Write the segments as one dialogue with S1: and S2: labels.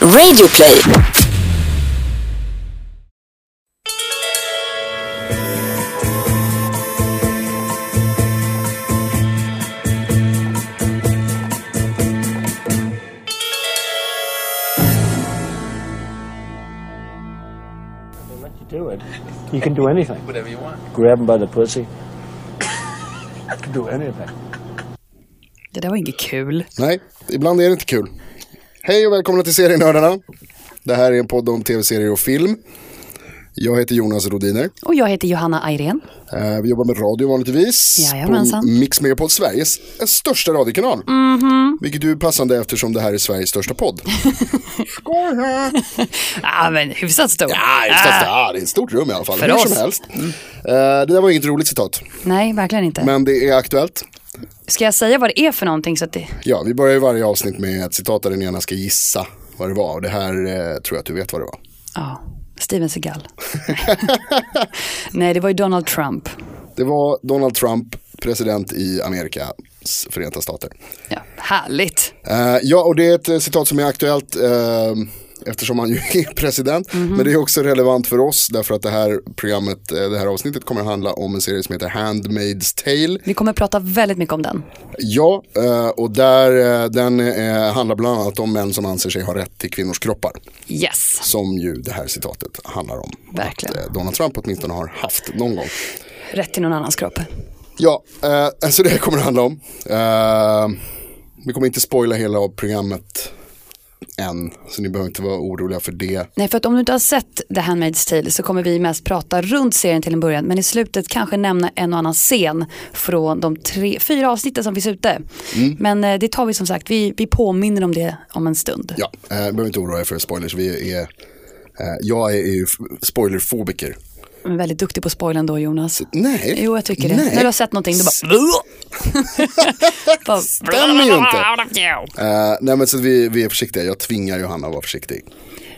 S1: Radioplay.
S2: let you do it. You can do anything.
S3: whatever you want.
S2: Grab him by the pussy. You can do anything.
S4: Det där var inget kul.
S5: Nej, ibland är det inte kul. Hej och välkomna till Serienördarna. Det här är en podd om tv-serier och film. Jag heter Jonas Rodiner.
S4: Och jag heter Johanna Ayrén.
S5: Eh, Vi jobbar med radio vanligtvis.
S4: Jajamensan. Mhm.
S5: På Mix Megapol, Sveriges största radiokanal. Vilket ju är passande eftersom det här är Sveriges största podd.
S4: Ah.
S5: Skoja!
S4: Ja, Ah, men hyfsat stor.
S5: Ja, det är, ah. det är ett stort rum i alla fall.
S4: För
S5: Hur
S4: oss. Mm.
S5: som helst. Eh, Det där var inget roligt citat,
S4: Nej, verkligen inte.
S5: men det är aktuellt.
S4: Ska jag säga vad det är för någonting så att det...
S5: Ja, vi börjar ju varje avsnitt med ett citat där den ena ska gissa vad det var. Och det här eh, tror jag att du vet vad det var.
S4: Ja, Steven Seagal. Nej, det var ju Donald Trump.
S5: Det var Donald Trump, president i Amerikas förenta stater.
S4: Ja, härligt.
S5: Eh, ja, och det är ett eh, citat som är aktuellt eh, eftersom han ju är president. Men det är också relevant för oss därför att det här programmet, eh, det här avsnittet kommer att handla om en serie som heter Handmaid's Tale.
S4: Vi kommer prata väldigt mycket om den.
S5: Ja, eh, och där, eh, den eh, handlar bland annat om män som anser sig ha rätt till kvinnors kroppar.
S4: Yes,
S5: Som ju det här citatet handlar om.
S4: Verkligen.
S5: Att, eh, Donald Trump åtminstone har haft någon gång.
S4: rätt till någon annans kropp.
S5: Ja, eh, så det här kommer det handla om. Eh, vi kommer inte spoila hela av programmet än, så ni behöver inte vara oroliga för det.
S4: Nej, för att om du inte har sett The Handmaid's Tale så kommer vi mest prata runt serien till en början, men i slutet kanske nämna en och annan scen från de tre, fyra avsnitten som finns ute.
S5: Mm.
S4: Men eh, det tar vi som sagt, vi, vi påminner om det om en stund.
S5: Ja, eh, behöver inte oroa er för spoilers. Vi är, eh, jag är ju f- spoilerfobiker.
S4: Men väldigt duktig på spoilen då Jonas.
S5: Nej.
S4: Jo, jag tycker det.
S5: Nej.
S4: När du har sett någonting, du bara... bara
S5: Stämmer ju inte. Eh, nej men så vi, vi är försiktiga, jag tvingar Johanna att vara försiktig.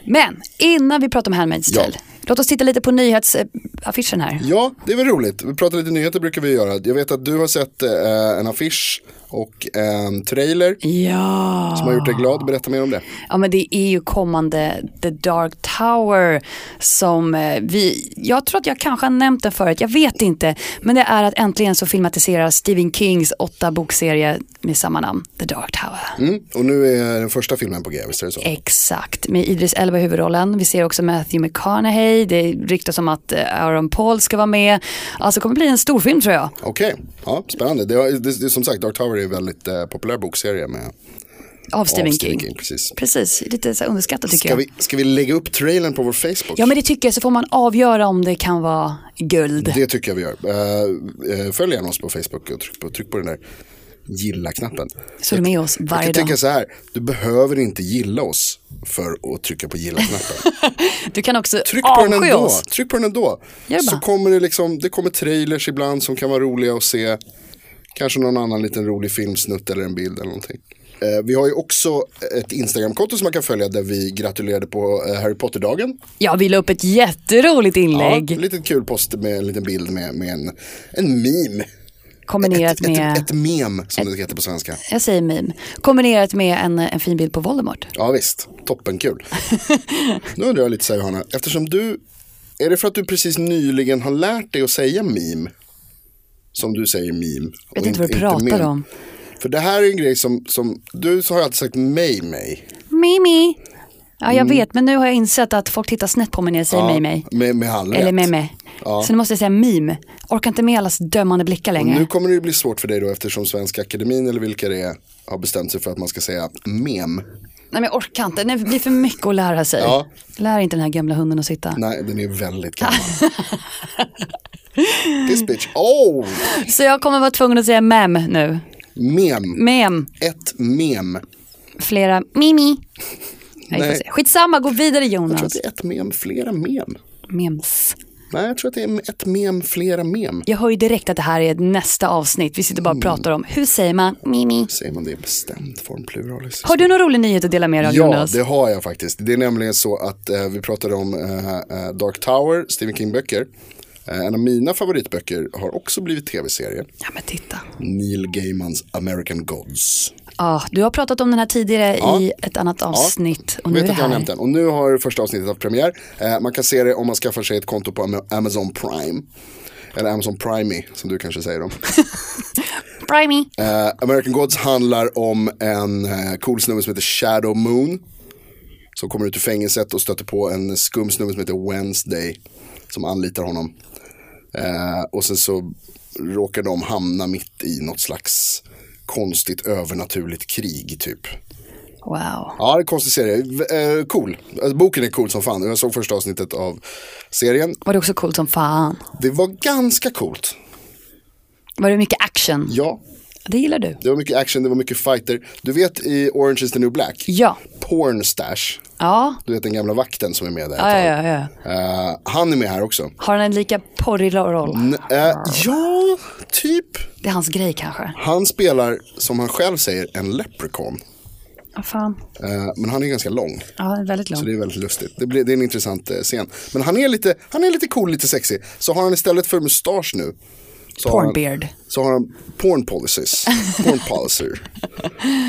S4: Men innan vi pratar om Handmaid's
S5: Ja.
S4: Tale, låt oss titta lite på nyhetsaffischen här.
S5: Ja, det är väl roligt. Vi pratar lite nyheter brukar vi göra. Jag vet att du har sett eh, en affisch och en trailer
S4: Ja.
S5: som har gjort dig glad. Berätta mer om det.
S4: Ja men det är ju kommande The Dark Tower som eh, vi, jag tror att jag kanske har nämnt det förut, jag vet inte. Men det är att äntligen så filmatiseras Stephen Kings åtta bokserie med samma namn, The Dark Tower.
S5: Mm. Och nu är den första filmen på g, visst är det så?
S4: Eh. Exakt, med Idris Elba i huvudrollen. Vi ser också Matthew McConaughey, det ryktas om att eh, Aaron Paul ska vara med. Alltså det kommer bli en stor film tror jag.
S5: Okej, ja, spännande. Det, har- det, det, som sagt, Dark Tower är en väldigt eh, populär bokserie med
S4: Av Stephen
S5: av
S4: King.
S5: precis.
S4: Precis, lite så här underskattat tycker
S5: Ska
S4: jag.
S5: vi, ska vi lägga upp trailern på vår Facebook?
S4: Ja men det tycker jag, så får man avgöra om det kan vara guld.
S5: Det tycker jag vi gör. Eh, eh, följ gärna oss på Facebook och tryck på, tryck på den där gilla-knappen.
S4: Så du är med oss
S5: Jag
S4: varje
S5: kan
S4: dag.
S5: tänka så här, du behöver inte gilla oss för att trycka på gilla-knappen.
S4: Du kan också
S5: Tryck på den
S4: avsky
S5: ändå.
S4: oss.
S5: Tryck på den ändå.
S4: Gör det
S5: Så
S4: bara.
S5: kommer det liksom, det kommer trailers ibland som kan vara roliga att se. Kanske någon annan liten rolig filmsnutt eller en bild eller någonting. Eh, vi har ju också ett Instagramkonto som man kan följa där vi gratulerade på eh, Harry Potter-dagen.
S4: Ja, vi la upp ett jätteroligt
S5: Ja,
S4: inlägg
S5: en liten kul post med en liten bild med, med en, en meme.
S4: kombinerat
S5: Ett,
S4: med,
S5: ett, ett meme som det heter på svenska.
S4: jag säger meme, kombinerat med en, en fin bild på Voldemort.
S5: Ja visst, toppenkul. nu undrar jag lite så här Johanna, eftersom du, är det för att du precis nyligen har lärt dig att säga meme? Som du säger meme. och
S4: Vet inte vad du pratar
S5: meme.
S4: om.
S5: För det här är en grej som, som du så har jag alltid sagt mig, mig.
S4: Mimi. Ja,
S5: Mm.
S4: jag vet, men nu har jag insett att folk tittar snett på mig när jag säger mimi. mig.
S5: Med, med all
S4: Eller
S5: rätt.
S4: meme.
S5: Ja.
S4: Så nu måste jag säga meme. Orkar inte med allas dömande blickar längre.
S5: Nu kommer det ju bli svårt för dig då eftersom Svenska Akademin eller vilka det är har bestämt sig för att man ska säga mem.
S4: Nej, men jag orkar inte. Nej, Det blir för mycket att lära sig.
S5: Ja.
S4: Lär inte den här gamla hunden att sitta.
S5: Nej, den är väldigt gammal. This bitch, oh!
S4: Så jag kommer vara tvungen att säga mem nu.
S5: Mem,
S4: Mem.
S5: ett mem.
S4: Flera mimi. Nej, vi får
S5: Nej.
S4: se. Skitsamma, gå vidare
S5: Jag
S4: Jonas.
S5: tror att det är ett mem, flera mem.
S4: Mems.
S5: Nej, jag tror att det är ett mem, flera mem.
S4: Jag hör ju direkt att det här är nästa avsnitt. Vi sitter bara
S5: Mm.
S4: och pratar om hur säger man mimi.
S5: Säger man det i bestämd form pluralis?
S4: Har du någon rolig nyhet att dela med dig av
S5: Ja,
S4: Jonas?
S5: det har jag faktiskt. Det är nämligen så att eh, vi pratade om eh, eh, Dark Tower, Stephen King-böcker. Eh, en av mina favoritböcker har också blivit tv-serien.
S4: Ja men titta.
S5: Neil Gaimans American Gods.
S4: Ah, du har pratat om den här tidigare
S5: Ja.
S4: i ett annat avsnitt. Och
S5: Jag
S4: nu är
S5: vet
S4: det
S5: att jag har nämnt
S4: här.
S5: den. Och nu har första avsnittet haft premiär. Eh, man kan se det om man skaffar sig ett konto på Ama- Amazon Prime. Eller Amazon Prime som du kanske säger om.
S4: Primey.
S5: Eh, American Gods handlar om en eh, cool snubbe som heter Shadow Moon. Som kommer ut ur fängelset och stöter på en skum snubbe som heter Wednesday. Som anlitar honom. Eh, och sen så råkar de hamna mitt i något slags konstigt övernaturligt krig typ.
S4: Wow.
S5: Ja, det är en konstig serie. V- eh, cool. Alltså, boken är cool som fan. Jag såg första avsnittet av serien.
S4: Var det också coolt som fan?
S5: Det var ganska coolt.
S4: Var det mycket action?
S5: Ja,
S4: Det gillar du.
S5: det var mycket action, det var mycket fighter. Du vet i Orange is the new black.
S4: Ja.
S5: Pornstash.
S4: Ja.
S5: Du vet den gamla vakten som är med där. ett
S4: Ja,
S5: tag.
S4: ja, ja.
S5: Eh, han är med här också.
S4: Har han en lika porrig roll?
S5: N- eh,
S4: Ah.
S5: ja, typ.
S4: Det är hans grej kanske.
S5: Han spelar, som han själv säger, en leprechaun.
S4: Ja, fan.
S5: Eh, men han är ganska lång.
S4: Ja, den är väldigt
S5: Så
S4: lång.
S5: det är väldigt lustigt. Det, blir, det är en intressant eh, scen. Men han är, lite, han är lite cool, lite sexy. Så har han istället för mustasch nu. Så har han-
S4: Pornbeard.
S5: Så har han porn policies. Porn policer.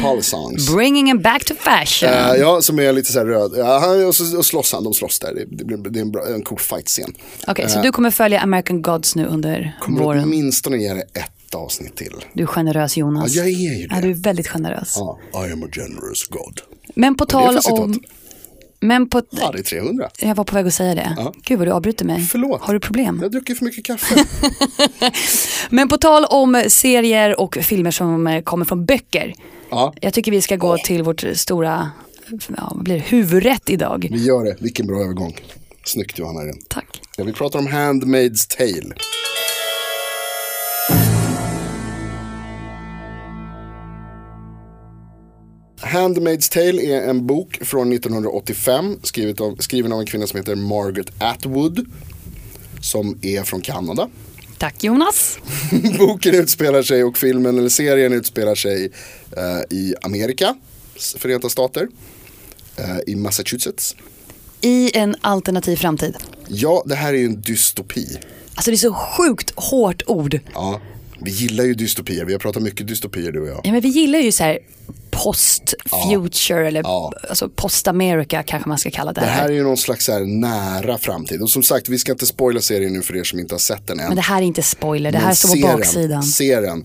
S5: Polisons.
S4: Bringing him back to fashion.
S5: Eh, ja, som är lite så här röd. Ja, han, och, så, och slåss han, de slåss där. Det, det, blir- det är en, bra, en cool fight-scen.
S4: Okej, så du kommer följa American Gods nu under
S5: eh. Kommer
S4: våren.
S5: åtminstone ge det ett avsnitt till.
S4: Du är generös Jonas.
S5: Ja, jag är ju det.
S4: Ja, du är väldigt generös.
S5: Ja, I am a generous god.
S4: Men på
S5: är
S4: tal
S5: för citat?
S4: om... Men på...
S5: Ja, det är 300.
S4: Jag var på väg att säga det. Gud vad du avbryter mig.
S5: Förlåt.
S4: Har du problem?
S5: Jag har druckit för mycket kaffe.
S4: Men på tal om serier och filmer som eh, kommer från böcker.
S5: Ja.
S4: Jag tycker vi ska gå till vårt stora ja, vad blir det, huvudrätt idag.
S5: Vi gör det. Vilken bra övergång. Snyggt Johanna Irene.
S4: Tack.
S5: Ja, vi pratar om Handmaid's Tale. Handmaid's Tale är en bok från 1985 skrivet av, skriven av en kvinna som heter Margaret Atwood. Som är från Kanada.
S4: Tack Jonas.
S5: Boken utspelar sig och filmen eller serien utspelar sig eh, i Amerika, s- Förenta Stater, eh, i Massachusetts.
S4: I en alternativ framtid.
S5: Ja, det här är ju en dystopi.
S4: Alltså det är så sjukt hårt ord.
S5: Ja, vi gillar ju dystopier. Vi har pratat mycket dystopier du och jag.
S4: Ja, men vi gillar ju så här post future eller
S5: Ja.
S4: alltså post America kanske man ska kalla det
S5: Det
S4: här.
S5: här är ju någon slags så här nära framtid. Och som sagt, vi ska inte spoila serien nu för er som inte har sett den än.
S4: Men det här är inte spoiler, det här
S5: Men
S4: står på
S5: se den,
S4: baksidan.
S5: Se den.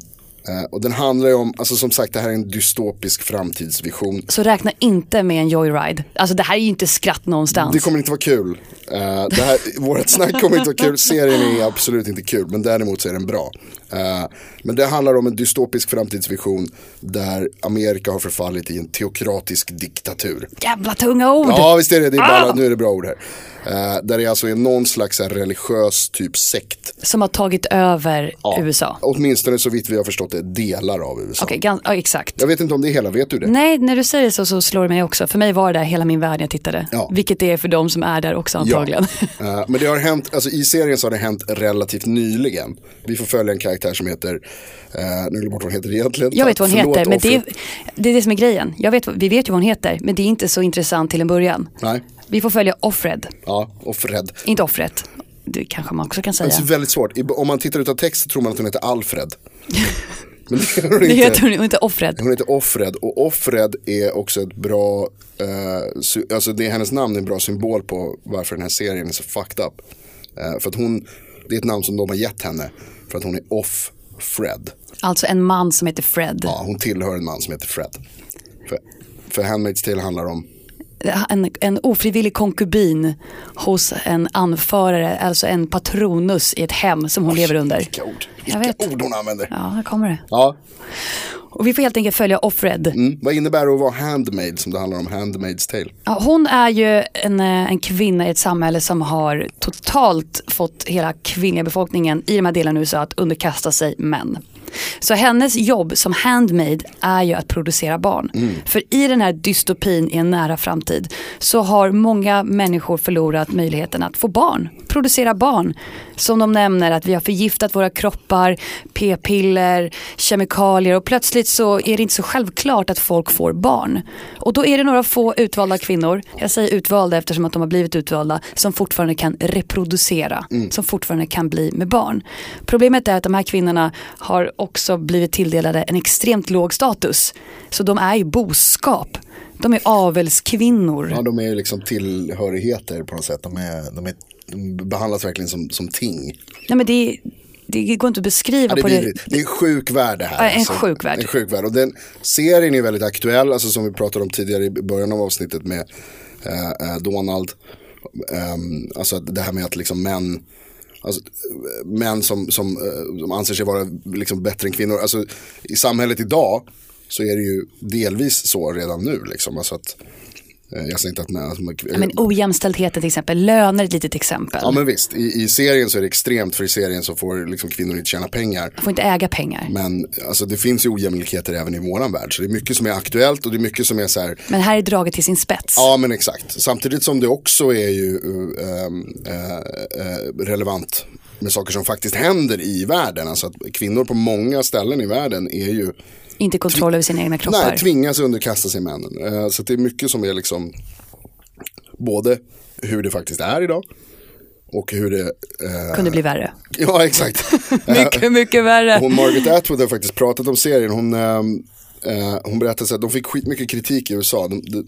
S5: Eh, och den handlar ju om, alltså som sagt, det här är en dystopisk framtidsvision.
S4: Så räkna inte med en joyride. Alltså det här är ju inte skratt någonstans.
S5: Det kommer inte vara kul. Eh, det här, vårt snack kommer inte vara kul. Serien är absolut inte kul, men däremot så är den bra. Eh, men det handlar om en dystopisk framtidsvision där Amerika har förfallit i en teokratisk diktatur.
S4: Jävla tunga ord.
S5: Ja visst är det, det är bara, nu är det bra ord här. Eh, där det alltså är någon slags så här religiös typ sekt.
S4: Som har tagit över USA. Okej,
S5: Åtminstone så vitt vi har förstått det, delar av USA.
S4: gan- ja, exakt.
S5: Jag vet inte om det är hela, vet du det?
S4: Nej, när du säger så så slår det mig också. För mig var det där hela min värld när jag tittade.
S5: Ja.
S4: Vilket det är för de som är där också antagligen.
S5: Eh, men det har hänt, alltså i serien så har det hänt relativt nyligen. Vi får följa en karaktär som heter, eh, nu glömde jag bort vad hon heter egentligen.
S4: Jag vet vad hon
S5: Förlåt,
S4: heter, men det,
S5: offret.
S4: det är det som är grejen. Jag vet, vi vet ju vad hon heter, men det är inte så intressant till en början.
S5: Nej,
S4: Vi får följa Offred,
S5: ja, Offred.
S4: inte Offret. Det kanske man också kan säga.
S5: Det är väldigt svårt, I- om man tittar utav text så tror man att hon heter Alfred. Men det gör hon
S4: Det
S5: inte.
S4: heter hon inte Offred.
S5: Hon heter Offred och Offred är också ett bra, eh, sy- alltså det är hennes namn är en bra symbol på varför den här serien är så fucked up. Eh, för att hon, det är ett namn som de har gett henne för att hon är Off-Fred.
S4: Alltså en man som heter Fred.
S5: Ja, hon tillhör en man som heter Fred. För, för Handmaid's Tale handlar om,
S4: En, en ofrivillig konkubin hos en anförare, alltså en patronus i ett hem som hon lever under.
S5: vilka ord,
S4: Jag
S5: vilka
S4: vet.
S5: ord hon använder. Ja.
S4: Ja, här kommer det. Och vi får helt enkelt följa Offred.
S5: Mm. Vad innebär det att vara handmaid som det handlar om, Handmaid's Tale?
S4: Ja, Hon är ju en, eh, en kvinna i ett samhälle som har totalt fått hela kvinnliga befolkningen i de här delarna av USA att underkasta sig män. Så hennes jobb som handmaid är ju att producera barn. För i den här dystopin i en nära framtid så har många människor förlorat möjligheten att få barn, producera barn. Som de nämner att vi har förgiftat våra kroppar, p-piller, kemikalier och plötsligt så är det inte så självklart att folk får barn. Och då är det några få utvalda kvinnor, jag säger utvalda eftersom att de har blivit utvalda, som fortfarande kan
S5: Mm.
S4: reproducera, som fortfarande kan bli med barn. Problemet är att de här kvinnorna har också blivit tilldelade en extremt låg status. Så de är ju boskap. De är avelskvinnor.
S5: Ja, de är ju liksom tillhörigheter på något sätt. De, är, de, är, de behandlas verkligen som, som ting.
S4: Nej, men det, det går inte att beskriva
S5: Ja, det, är
S4: på det.
S5: vidrigt. det är en sjuk värld det här. alltså.
S4: Ja, en sjuk värld.
S5: En sjuk värld. Och den serien är ju väldigt aktuell, alltså som vi pratade om tidigare i början av avsnittet med eh, eh, Donald. Ehm, alltså att det här med att liksom män, alltså, eh, män som, som, eh, som anser sig vara liksom bättre än kvinnor. Alltså, I samhället idag så är det ju delvis så redan nu. Liksom. Alltså att, eh, jag säger inte att män, alltså, man-
S4: Ja, men ojämställdheten till exempel, löner är ett litet exempel.
S5: Ja men visst, i, i serien så är det extremt för i serien så får liksom kvinnor inte tjäna pengar.
S4: Får inte äga pengar.
S5: Men alltså, det finns ju ojämlikheter även i våran värld. Så det är mycket som är aktuellt och det är mycket som är så här.
S4: Men här är draget till sin spets.
S5: Ja men exakt. Samtidigt som det också är ju ehm, eh, eh, relevant med saker som faktiskt händer i världen. Alltså att kvinnor på många ställen i världen är ju,
S4: Inte kontroll över sina egna kroppar.
S5: nej, tvingas underkasta sig männen. Eh, så att det är mycket som är liksom både hur det faktiskt är idag och hur det, eh,
S4: Kunde bli värre.
S5: ja exakt.
S4: Mycket, mycket värre.
S5: Hon Margaret Atwood har faktiskt pratat om serien. Hon, ehm, eh, hon berättade så att de fick skitmycket kritik i USA. De, de,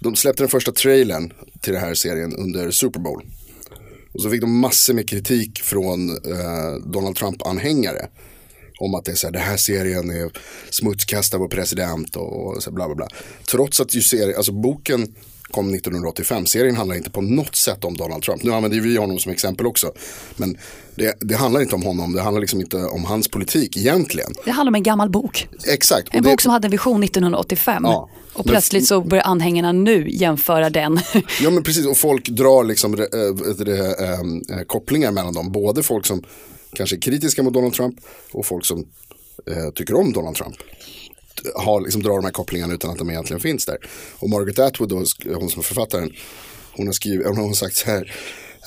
S5: de släppte den första trailern till den här serien under Super Bowl. Och så fick de massor med kritik från eh, Donald Trump-anhängare. Om att det är så här, den här serien är smutskastar vår president och, och så här, bla bla bla. Trots att ju serien, alltså boken kom 1985, serien handlar inte på något sätt om Donald Trump. Nu använder ju vi honom som exempel också. Men det, det handlar inte om honom, det handlar liksom inte om hans politik egentligen.
S4: Det handlar om en gammal bok.
S5: Exakt. och
S4: En
S5: det-
S4: bok som hade en vision 1985.
S5: Ja.
S4: Och
S5: Men-
S4: plötsligt så börjar anhängarna nu jämföra den.
S5: Ja men precis och folk drar liksom eh, vet du det, eh, eh, kopplingar mellan dem. Både folk som kanske är kritiska mot Donald Trump och folk som eh, tycker om Donald Trump. Har, liksom, drar de här kopplingarna utan att de egentligen finns där. Och Margaret Atwood, då, sk- hon som är författaren, hon har, skrivit, hon har sagt så här.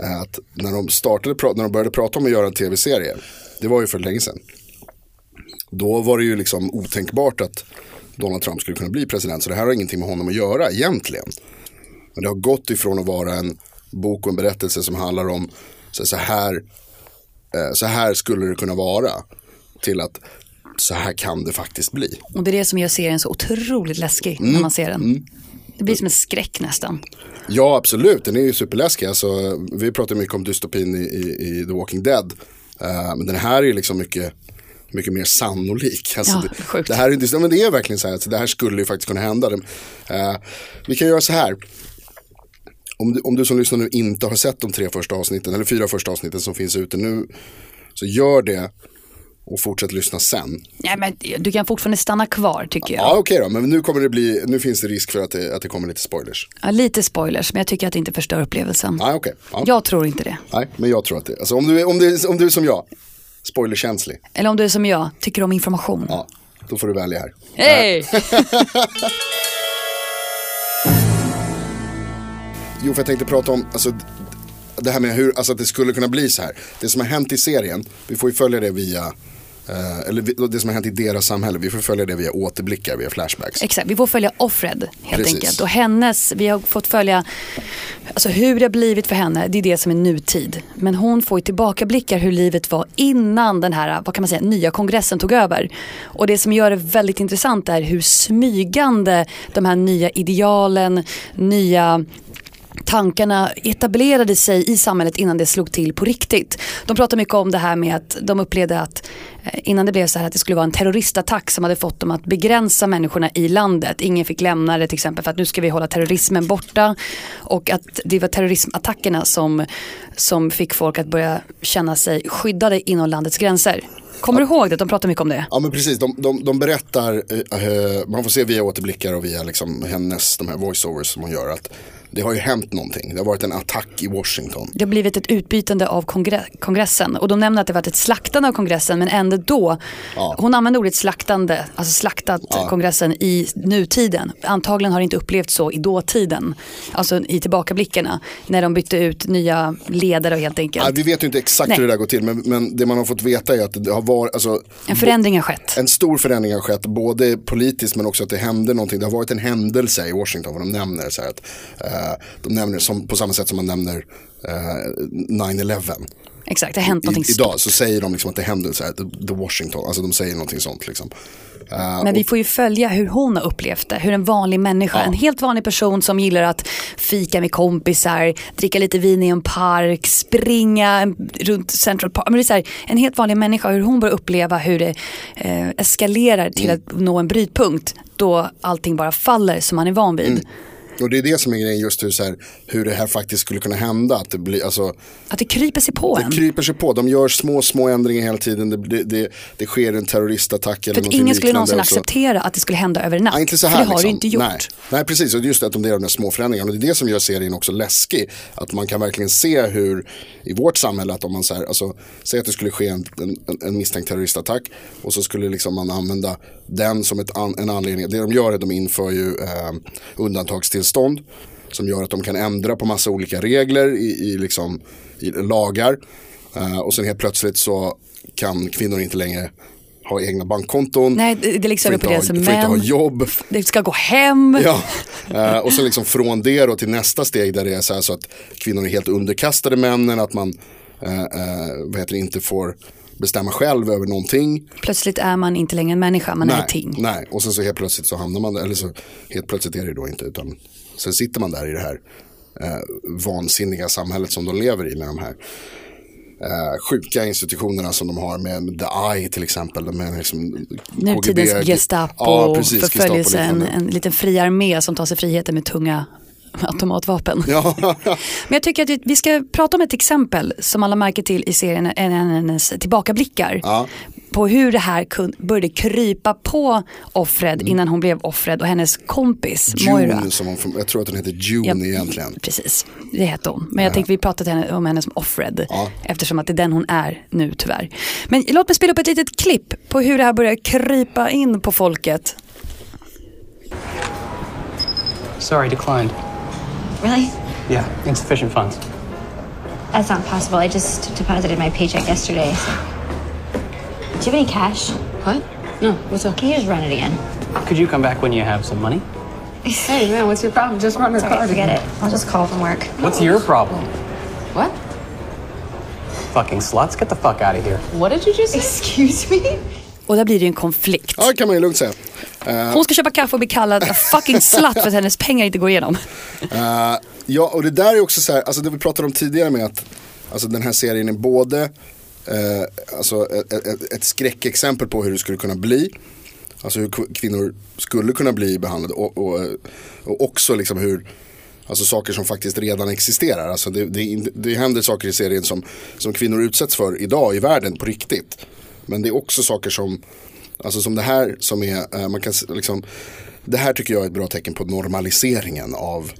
S5: eh, Att när de, startade, pra- när de började prata om att göra en tv-serie, det var ju för länge sedan då var det ju liksom otänkbart att Donald Trump skulle kunna bli president. Så det här har ingenting med honom att göra egentligen. Men det har gått ifrån att vara en bok och en berättelse som handlar om så så här, eh, så här skulle det kunna vara. Till att så här kan det faktiskt bli.
S4: Och det är det som gör serien så otroligt läskig
S5: Mm.
S4: när man ser den. Det blir som en skräck nästan.
S5: Ja, absolut. Den är ju superläskig. Alltså, vi pratar mycket om dystopin i, i, i The Walking Dead. Eh, men den här är ju liksom mycket, mycket mer sannolik. Alltså,
S4: Ja,
S5: det,
S4: sjukt.
S5: det här är, dyst- ja, men det är verkligen så här. Alltså, det här skulle ju faktiskt kunna hända. Den- eh, vi kan göra så här. Om du, om du som lyssnar nu inte har sett de tre första avsnitten eller fyra första avsnitten som finns ute nu. Så gör det och fortsätt lyssna sen.
S4: Nej, men du kan fortfarande stanna kvar tycker jag.
S5: Ja, okej då. Men nu, kommer det bli, nu finns det risk för att det, att det kommer lite spoilers.
S4: Ja, lite spoilers, men jag tycker att det inte förstör upplevelsen.
S5: Nej, okej. Ja.
S4: Jag tror inte det.
S5: Nej, men jag tror att det. Alltså, om, du, är- om, du, om du är som jag, spoilerkänslig,
S4: Eller om du är som jag, tycker om information.
S5: ja, då får du välja här.
S4: Hej!
S5: Jo, för jag tänkte prata om alltså, d- det här med hur, alltså, att det skulle kunna bli så här. Det som har hänt i serien, vi får ju följa det via, eh, eller vi- det som har hänt i deras samhälle, vi får följa det via återblickar, via flashbacks.
S4: Exakt, vi får följa Offred helt
S5: Precis.
S4: enkelt. Och hennes, vi har fått följa alltså hur det har blivit för henne, det är det som är nutid. Men hon får ju tillbakablickar hur livet var innan den här, vad kan man säga, nya kongressen tog över. Och det som gör det väldigt intressant är hur smygande de här nya idealen, nya tankarna etablerade sig i samhället innan det slog till på riktigt. De pratar mycket om det här med att de upplevde att eh, innan det blev så här att det skulle vara en terroristattack som hade fått dem att begränsa människorna i landet. Ingen fick lämna det till exempel för att nu ska vi hålla terrorismen borta och att det var terrorismattackerna som, som fick folk att börja känna sig skyddade inom landets gränser. Kommer du ihåg det? De pratar mycket om det.
S5: Ja men precis, de, de, de berättar, eh, eh, man får se via återblickar och via liksom hennes, de här voiceovers som hon gör att det har ju hänt någonting, det har varit en attack i Washington.
S4: Det har blivit ett utbytande av kongre- kongressen och de nämner att det varit ett slaktande av kongressen men ändå då,
S5: Ja.
S4: hon använder ordet slaktande, alltså slaktat kongressen i nutiden. Antagligen har det inte upplevt så i dåtiden, alltså i tillbakablickarna när de bytte ut nya ledare helt enkelt.
S5: Ja, vi vet ju inte exakt
S4: Nej.
S5: hur det där går till men, men det man har fått veta är att det har varit, alltså,
S4: en förändring har skett.
S5: en stor förändring har skett både politiskt men också att det hände någonting. Det har varit en händelse i Washington vad de nämner. Så här att, eh, de nämner som, på samma sätt som man nämner eh, 9-11.
S4: Exakt, det har hänt
S5: I,
S4: någonting
S5: idag så säger de liksom att det händer så här, the, the Washington, alltså de säger någonting sånt liksom. Eh,
S4: Men vi får ju följa hur hon har upplevt det. Hur en vanlig människa, en helt vanlig person som gillar att fika med kompisar, dricka lite vin i en park, springa en- runt Central Park. Men det är så här, en helt vanlig människa, hur hon börjar uppleva hur det eh, eskalerar till
S5: Mm.
S4: att nå en brytpunkt då allting bara faller som man är van vid.
S5: Mm. Och det är det som är grejen, just hur, så här, hur det här faktiskt skulle kunna hända. Att det blir, alltså,
S4: Att det kryper sig på en.
S5: det kryper sig på, de gör små, små ändringar hela tiden. Det, det, det, det sker en terroristattack eller
S4: För att
S5: någonting
S4: ingen skulle
S5: liknande
S4: någonsin
S5: och så-
S4: acceptera att det skulle hända över en natt.
S5: Ja, inte så här
S4: för det har
S5: liksom.
S4: du inte gjort.
S5: Nej. Nej, precis. Och just att de gör de där små förändringarna. Och det är det som gör serien också läskig. Att man kan verkligen se hur i vårt samhälle att om man så här, alltså, säg att det skulle ske en, en, en misstänkt terroristattack och så skulle liksom man använda den som ett an, en anledning. Det de gör är att de inför ju eh, undantagstillstånd som gör att de kan ändra på massa olika regler i, i, liksom, i lagar. Eh, och sen helt plötsligt så kan kvinnor inte längre ha egna bankkonton.
S4: Nej, det- det liksom
S5: får inte ha,
S4: repareras
S5: får
S4: som
S5: inte ha
S4: män.
S5: jobb.
S4: Det ska gå hem.
S5: Ja, eh, och så liksom från det då till nästa steg där det är så här så att kvinnor är helt underkastade männen, att man eh, eh, vad heter det, inte får bestämma själv över någonting.
S4: Plötsligt är man inte längre en människa, man är ett ting.
S5: nej, och sen så helt plötsligt så hamnar man där, eller så helt plötsligt är det då inte, utan sen sitter man där i det här eh, vansinniga samhället som de lever i med de här eh, sjuka institutionerna som de har med med The Eye till exempel. Med liksom
S4: Nutidens
S5: KGB
S4: Gestapo,
S5: ja, precis,
S4: förföljelse, en,
S5: Gestapo-liknande.
S4: en liten fri armé som tar sig friheten med tunga automatvapen.
S5: Ja,
S4: Men jag tycker att vi- vi ska prata om ett exempel som alla märker till i serien, en- en- hennes tillbakablickar.
S5: Ja.
S4: På hur det här kun, började krypa på Offred innan hon blev Offred och hennes kompis Moira.
S5: June, som hon, från- jag tror att hon heter June
S4: Ja,
S5: egentligen.
S4: Precis, det heter hon. Men jag tänkte vi pratade henne- om henne som Offred.
S5: Ja.
S4: Eftersom att det är den hon är nu tyvärr. Men låt mig spela upp ett litet klipp på hur det här börjar krypa in på folket.
S1: Sorry, declined.
S3: Really?
S1: Yeah, insufficient funds.
S3: That's not possible. I just deposited my paycheck yesterday. so- Do you have any cash?
S6: What? No, what's up?
S3: Can you just run it again?
S1: Could you come back when you have some money?
S6: Hey, man, what's your problem? Just run the
S3: Sorry,
S6: card
S3: forget
S6: again.
S3: it. I'll just call from work.
S1: What's your problem?
S6: What?
S1: Fucking sluts, get the fuck out of here.
S6: What did you just say?
S3: Excuse me?
S4: Och där blir det ju en konflikt.
S5: Ja, det kan man ju lugnt säga.
S4: Hon ska köpa kaffe och bli kallad a fucking slut för att hennes pengar inte går igenom.
S5: Eh, ja, och det där är också så här, alltså det vi pratade om tidigare med att alltså den här serien är både eh, alltså ett, ett, ett skräckexempel på hur det skulle kunna bli. Alltså hur kv- kvinnor skulle kunna bli behandlade och, och, eh, och också liksom hur Alltså saker som faktiskt redan existerar. Alltså det, det, är inte- det händer saker i serien som, som kvinnor utsätts för idag i världen på riktigt. Men det är också saker som, alltså som det här som är, eh, man kan s- liksom, det här tycker jag är ett bra tecken på normaliseringen av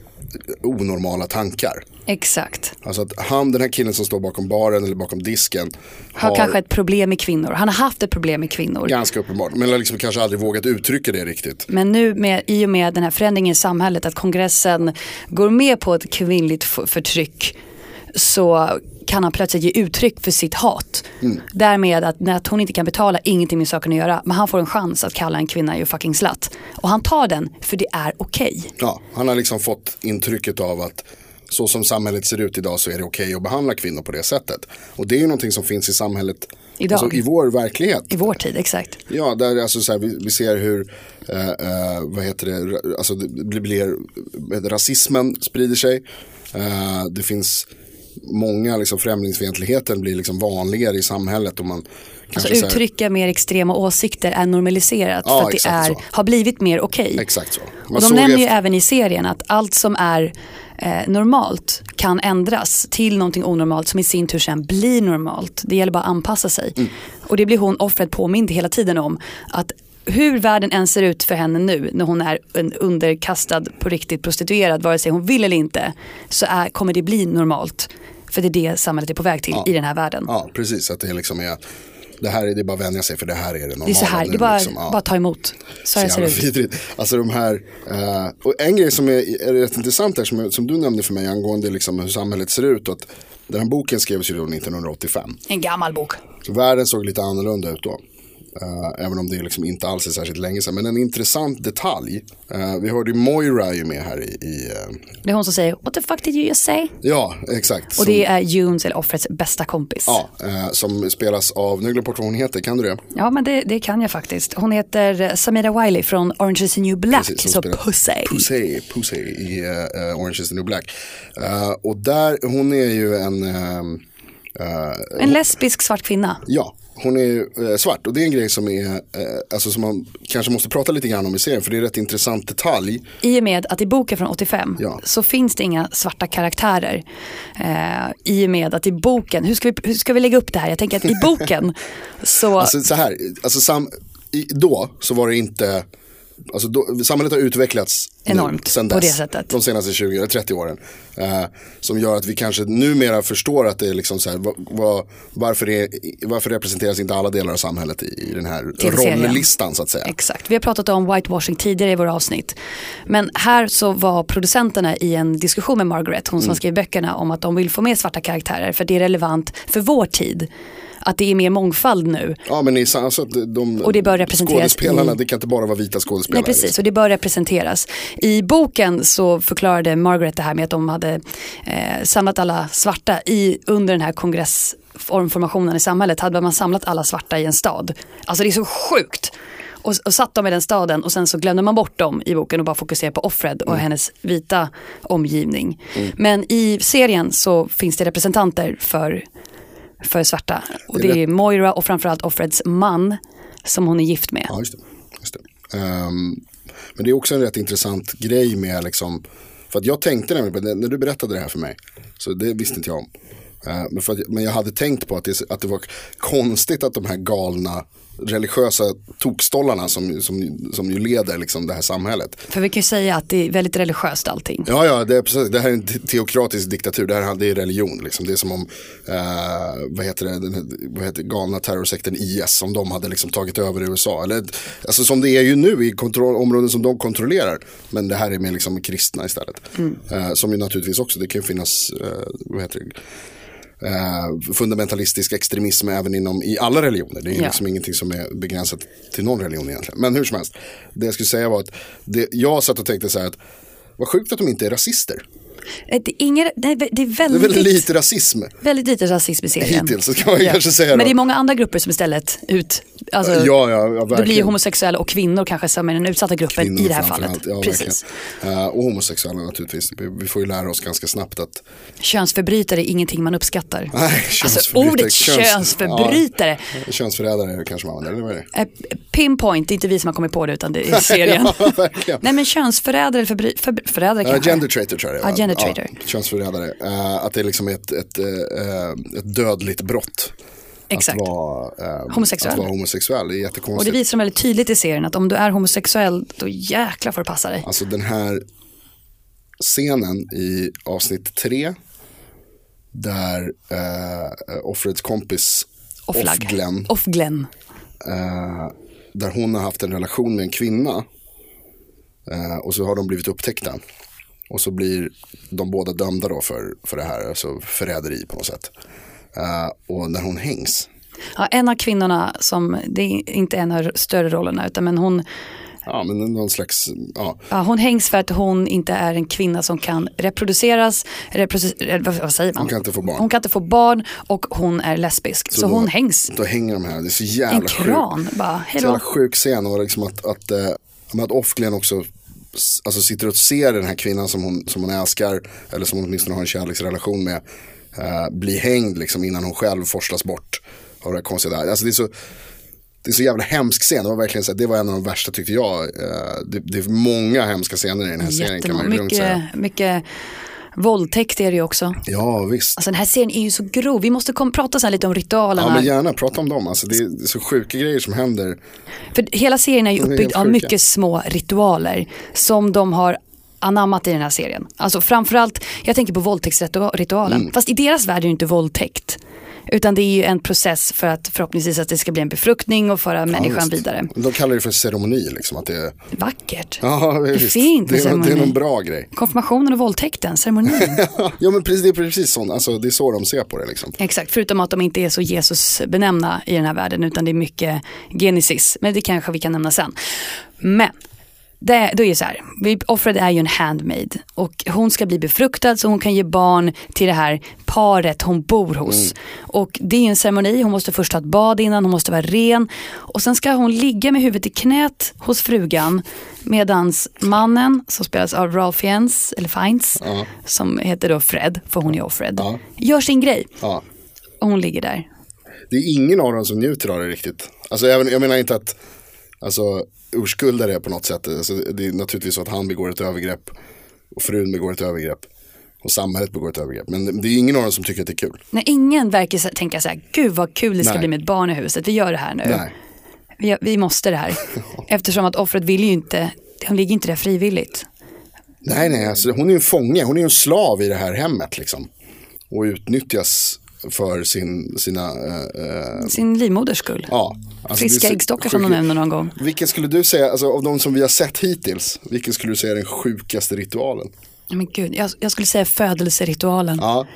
S5: onormala tankar.
S4: Exakt.
S5: Alltså att han, den här killen som står bakom baren eller bakom disken
S4: Har kanske ett problem med kvinnor. Han har haft ett problem med kvinnor.
S5: ganska uppenbart, men har liksom kanske aldrig vågat uttrycka det riktigt.
S4: Men nu med, i och med den här förändringen i samhället att kongressen går med på ett kvinnligt f- förtryck så kan han plötsligt ge uttryck för sitt hat. Därmed att, när att hon inte kan betala, ingenting med saken att göra, men han får en chans att kalla en kvinna ju fucking slatt. Och han tar den, för det är okej.
S5: Ja, han har liksom fått intrycket av att så som samhället ser ut idag så är det okej att behandla kvinnor på det sättet. Och det är ju någonting som finns i samhället,
S4: Idag.
S5: Alltså, i vår verklighet.
S4: I vår tid, exakt.
S5: Ja, där alltså så här, vi, vi ser hur, eh, eh, vad heter det, ra- alltså det blir, blir vad heter det, rasismen sprider sig. Eh, det finns många, liksom främlingsfientligheten blir liksom vanligare i samhället. Och man
S4: Så
S5: kanske så här-
S4: Alltså, uttrycka mer extrema åsikter är normaliserat
S5: Ja,
S4: för att det
S5: exakt
S4: är,
S5: så.
S4: har blivit mer okej.
S5: Exakt så. Man
S4: Och de
S5: såg
S4: nämner ju
S5: efter-
S4: även i serien att allt som är eh, normalt kan ändras till någonting onormalt som i sin tur sen blir normalt. Det gäller bara att anpassa sig.
S5: Mm.
S4: Och det blir hon, offret, påmind hela tiden om. Att hur världen än ser ut för henne nu när hon är en underkastad på riktigt prostituerad vare sig hon vill eller inte så är, kommer det bli normalt. För det är det samhället är på väg till i den här världen.
S5: Ja, precis. Att det liksom är, det här är, det är bara att vänja sig för det här är det normala.
S4: Det är så här,
S5: nu,
S4: det är bara,
S5: liksom. Ja.
S4: bara att ta emot. Så här
S5: Så
S4: ser det
S5: jävla
S4: ut.
S5: vidrigt. Alltså de här, eh, och en grej som är, är rätt intressant här som, som du nämnde för mig angående liksom hur samhället ser ut. och Att den här boken skrevs ju då 1985.
S4: En gammal bok.
S5: Så världen såg lite annorlunda ut då. Eh, även om det liksom inte alls är särskilt länge sedan. Men en intressant detalj. eh, vi hörde ju Moira är ju med här i... i eh,
S4: Det är hon som säger “What the fuck did you just say?”
S5: ja, exakt.
S4: och det är Junes, eller offrets, bästa kompis.
S5: som, ja, eh, som spelas av, nu har jag glömt bort vad hon heter, kan du det?
S4: Ja, men det, det kan jag faktiskt. Hon heter eh, Samira Wiley från Orange is the new black,
S5: Precis, som
S4: så
S5: spelar
S4: Alltså, Pussy.
S5: Pussy, Pussy i eh, eh, Orange is the new black. Eh, och där, hon är ju en... ehm, eh,
S4: En lesbisk svart kvinna.
S5: Ja, hon är ju eh, svart och det är en grej som, är, eh, alltså som man kanske måste prata lite grann om i serien för det är en rätt intressant detalj.
S4: I och med att i boken från 85
S5: Ja.
S4: så finns det inga svarta karaktärer. Eh, I och med att i boken, hur ska, vi, hur ska vi lägga upp det här? Jag tänker att i boken så,
S5: Alltså så här, alltså sam, i, då så var det inte, alltså då, samhället har utvecklats nu,
S4: Enormt,
S5: sen
S4: på
S5: dess,
S4: det sättet.
S5: De senaste 20 eller 30 åren. Eh, som gör att vi kanske numera förstår att det är liksom så här, va, va, varför, är, varför representeras inte alla delar av samhället i, i den här
S4: serien.
S5: rolllistan så att säga.
S4: exakt, vi har pratat om whitewashing tidigare i våra avsnitt. Men här så var producenterna i en diskussion med Margaret, hon som skrev böckerna, om att de vill få med svarta karaktärer för det är relevant för vår tid. Att det är mer mångfald nu.
S5: Ja men i, sa- alltså, att de,
S4: Och det bör representeras
S5: skådespelarna,
S4: i-
S5: det kan inte bara vara vita skådespelare.
S4: Nej precis, och det bör representeras. I boken så förklarade Margaret det här med att de hade eh, samlat alla svarta i, under den här kongressformationen i samhället. Hade man samlat alla svarta i en stad. Alltså det är så sjukt. Och, och satt dem i den staden och sen så glömde man bort dem i boken och bara fokuserade på Offred
S5: Mm.
S4: och hennes vita omgivning. Men i serien så finns det representanter för, för svarta. Och
S5: Det är
S4: det är Moira och framförallt Offreds man som hon är gift med.
S5: Ja, just det. Just det. Ehm, men det är också en rätt intressant grej med liksom, för att jag tänkte nämligen, på det- när du berättade det här för mig, så det visste inte jag om. Eh, men, för att, men jag hade tänkt på att det, att det var konstigt att de här galna religiösa tokstollarna som, som, som ju leder liksom det här samhället.
S4: För vi kan ju säga att det är väldigt religiöst allting.
S5: Ja, ja, det, är precis, det här är en te- teokratisk diktatur, det här det är religion. Liksom. Det är som om, eh, vad heter det, den, här- vad heter, det, galna terrorsekten IS, som de hade liksom tagit över i USA. Eller, alltså som det är ju nu i kontroll, områden som de kontrollerar, men det här är med liksom kristna istället. Eh, som ju naturligtvis också, det kan ju finnas, eh, vad heter det, eh, fundamentalistisk extremism även inom, i alla religioner. Det är ju
S4: Ja.
S5: liksom ingenting som är begränsat till någon religion egentligen. Men hur som helst, det jag skulle säga var att det, jag satt och tänkte så här att vad sjukt att de inte är rasister.
S4: Eh, Det är, ingen, nej, det är
S5: Det är
S4: väldigt,
S5: väldigt
S4: väldigt,
S5: lite rasism
S4: lite rasism i serien.
S5: hittills, så kan man ju kanske säga. då.
S4: Men det är många andra grupper som istället ut... Alltså,
S5: Ja, ja, ja,
S4: det blir ju
S5: verkligen.
S4: homosexuella och kvinnor kanske som är den utsatta gruppen
S5: Kvinnor
S4: i det här
S5: framför
S4: fallet.
S5: allt, Ja,
S4: Precis.
S5: Precis. och homosexuella naturligtvis. Vi, vi får ju lära oss ganska snabbt att
S4: Könsförbrytare är ingenting man uppskattar.
S5: Nej,
S4: alltså
S5: könsförbrytare,
S4: ordet
S5: köns-
S4: könsförbrytare,
S5: könsförrädare kanske man använder, eller vad är det?
S4: eh, pinpoint, det är inte vi som har kommit på det utan det är serien.
S5: ja, verkligen.
S4: Nej men könsförrädare, förbry- förbry- förrädare
S5: Ja,
S4: kanske.
S5: gender traitor tror jag det är,
S4: Ja,
S5: va?
S4: gender traitor.
S5: Ja, könsförrädare. Eh, att det är liksom ett, ett, eh, eh, ett dödligt brott.
S4: Exakt.
S5: Att vara, eh,
S4: Homosexuell.
S5: Att vara homosexuell,
S4: Och
S5: det är
S4: det
S5: jättekonstigt.
S4: visar de väldigt tydligt i serien att om du är homosexuell då jäklar får du passa dig.
S5: Alltså den här scenen i avsnitt tre. Där eh, Offreds kompis
S4: Offlag.
S5: Off-Glenn,
S4: Off Glenn.
S5: eh, där hon har haft en relation med en kvinna. Eh, och så har de blivit upptäckta. Och så blir de båda dömda då för, för det här, alltså förräderi på något sätt. Eh, och när hon hängs.
S4: Ja, en av kvinnorna som, det är inte en av större rollerna, utan men hon,
S5: Ja, men någon slags, ja,
S4: ja, hon hängs för att hon inte är en kvinna som kan reproduceras, reproducer, vad, vad säger man?
S5: Hon kan inte få barn.
S4: Hon kan inte få barn och hon är lesbisk. Så,
S5: då-
S4: hon hängs.
S5: Då hänger de här, det är så jävla
S4: En
S5: sjukt.
S4: kran bara,
S5: Så
S4: hej då.
S5: jävla sjuk scen och liksom att, att, eh, men att Offgren också s- alltså sitter och ser den här kvinnan som hon, som hon älskar eller som hon åtminstone har en kärleksrelation med eh, bli hängd liksom innan hon själv forslas bort av det här konstiga där. Alltså det är så det är så jävla hemsk scen, det var verkligen så här, det var en av de värsta tyckte jag. Eh, Det, det är många hemska scener i den här serien kan man ju
S4: Jättemånga,
S5: lugnt säga.
S4: mycket, mycket våldtäkt är det ju också.
S5: Ja visst.
S4: Alltså den här serien är ju så grov, vi måste kom, prata sen lite om
S5: Ja
S4: ritualerna.
S5: men gärna, prata om dem. Alltså, det är det är så sjuka grejer som händer.
S4: För hela serien är ju
S5: är
S4: uppbyggd
S5: helt
S4: av
S5: sjuka.
S4: mycket små ritualer som de har anammat i den här
S5: Mm.
S4: serien. Alltså framförallt, jag tänker på våldtäktsritualen. Fast i deras värld är det ju inte våldtäkt. Utan det är ju en process för att förhoppningsvis att det ska bli en befruktning och föra människan
S5: visst.
S4: vidare.
S5: De kallar det för ceremoni liksom. Att det, är-
S4: Vackert.
S5: ja,
S4: det är
S5: visst.
S4: fint
S5: det,
S4: med
S5: är, någon- det är
S4: ceremoni.
S5: någon bra grej.
S4: Konfirmationen och våldtäkten, ceremonin.
S5: ja men precis, det är precis sånt, alltså, det är så de ser på det liksom.
S4: Exakt, förutom att de inte är så Jesusbenämna i den här världen utan det är mycket Genesis. Men det kanske vi kan nämna sen. Men, det, då är det så här, vi, offret är ju en handmaid och hon ska bli befruktad så hon kan ge barn till det här paret hon bor hos. Och det är en ceremoni, hon måste först ha ett bad innan, hon måste vara ren och sen ska hon ligga med huvudet i knät hos frugan medans mannen som spelas av Ralph Fiennes, eller Fiennes, som heter då Fred, för hon är Offred, gör sin grej.
S5: Ja.
S4: Och hon ligger där.
S5: Det är ingen av dem som njuter av det riktigt. Alltså, även, jag menar inte att alltså, urskulda det på något sätt. Alltså, det är naturligtvis så att han begår ett övergrepp och frun begår ett övergrepp och samhället begår ett övergrepp. Men det är ingen av dem som tycker att det är kul.
S4: När ingen verkar så- tänka så här, gud vad kul det ska
S5: Nej.
S4: bli med ett barn i huset, vi gör det här nu.
S5: Nej.
S4: Vi, vi måste det här. Eftersom att offret vill ju inte, hon ligger inte där frivilligt.
S5: Nej, nej, alltså, hon är ju en fånge, hon är ju en slav i det här hemmet liksom. Och utnyttjas för sin, sina, eh, eh,
S4: Sin livmoders skull.
S5: ja. Alltså, det
S4: Friska
S5: är så
S4: äggstockar som de
S5: sjukt.
S4: nämner någon gång.
S5: Vilken skulle du säga, alltså, av de som vi har sett hittills, vilken skulle du säga är den sjukaste ritualen?
S4: Ja, Men gud, jag, jag skulle säga födelseritualen.
S5: Ja,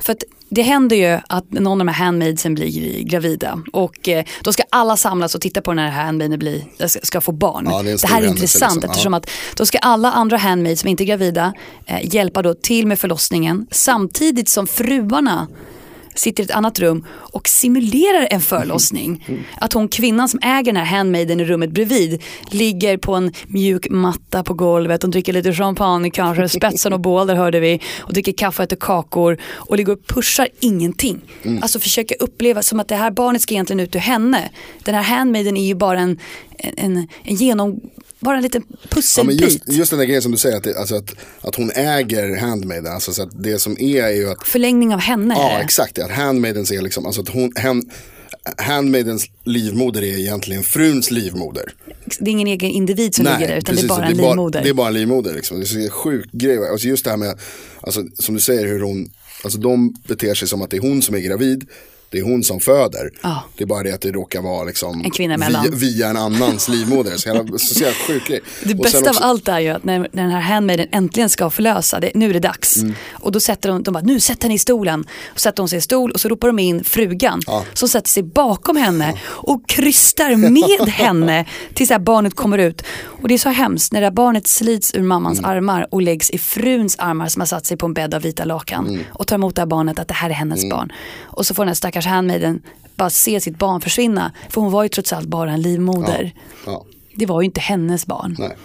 S4: För att det händer ju att någon av de här handmaidsen blir gravida och eh, då ska alla samlas och titta på när den här handmaiden blir, eh, ska, ska få barn.
S5: Ja, det är en
S4: det,
S5: stor
S4: här är
S5: händelse
S4: intressant
S5: liksom, ja.
S4: eftersom att då ska alla andra handmaids som inte är gravida eh, hjälpa då till med förlossningen samtidigt som fruarna sitter i ett annat rum och simulerar en förlossning. Att hon kvinnan som äger den här handmaiden i rummet bredvid ligger på en mjuk matta på golvet och dricker lite champagne kanske, spetsen och bål där hörde vi och dricker kaffe och äter kakor och ligger och pushar ingenting.
S5: Mm.
S4: Alltså försöker uppleva som att det här barnet ska egentligen ut ur henne. Den här handmaiden är ju bara en, en, en, en genom, bara en liten
S5: ja men
S4: pusselbit.
S5: just, just den där grejen som du säger, att, det, alltså, att, att hon äger handmaiden, alltså, så att det som är är ju att
S4: Förlängning av henne. är
S5: Ja,
S4: det.
S5: exakt. det. Att handmaidens är liksom, alltså att hon, hen, handmaidens livmoder är egentligen fruns livmoder.
S4: det är ingen egen individ som ligger där utan det är bara
S5: och
S4: en
S5: det är
S4: livmoder.
S5: Det är bara en livmoder liksom. Det är så en sjuk grej. Alltså just det här med, alltså, som du säger hur hon, alltså de beter sig som att det är hon som är gravid. Det är hon som föder.
S4: Ja.
S5: Det är bara det att det råkar vara liksom
S4: En kvinna emellan.
S5: via, via en annans livmoder. Så jävla, så jävla sjuk grej.
S4: Det
S5: Och sen
S4: bästa
S5: också-
S4: av allt är ju att när, när den här handmaiden äntligen ska förlösa, det, nu är det dags.
S5: Mm.
S4: Och då sätter de, de bara, nu sätt henne i stolen. Och sätter hon sig i stol och så ropar de in frugan som sätter sig bakom henne och krystar med henne tills det här barnet kommer ut. Och det är så hemskt när det här barnet slits ur mammans
S5: Mm.
S4: armar och läggs i fruns armar som har satt sig på en bädd av vita lakan
S5: Mm.
S4: och tar emot det här barnet att det här är hennes barn. Och så får den här stackars handmaiden bara se sitt barn försvinna. För hon var ju trots allt bara en livmoder.
S5: Ja,
S4: Det var ju inte hennes barn.
S5: nej.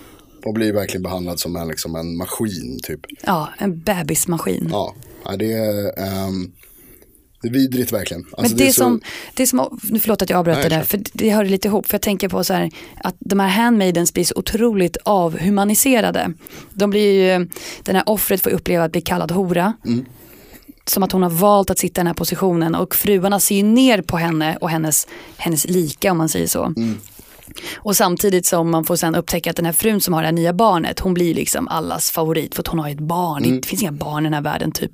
S5: Och blir verkligen behandlad som en, liksom, en maskin typ.
S4: Ja, en bebismaskin.
S5: Ja, ja det, är, ehm, det är vidrigt verkligen.
S4: Men
S5: Alltså,
S4: det,
S5: är så-
S4: som, det som, nu förlåt att jag avbröt
S5: Nej,
S4: det där,
S5: kör.
S4: för det hör lite ihop. För jag tänker på så här, att de här handmaidens blir så otroligt avhumaniserade. De blir ju, den här offret får uppleva att bli kallad hora.
S5: Mm.
S4: Som att hon har valt att sitta i den här positionen och fruarna ser ju ner på henne och hennes, hennes lika om man säger så.
S5: Mm.
S4: Och samtidigt som man får sen upptäcka att den här frun som har det här nya barnet, hon blir liksom allas favorit för att hon har ju ett barn.
S5: Mm.
S4: Det finns inga barn i den här världen typ.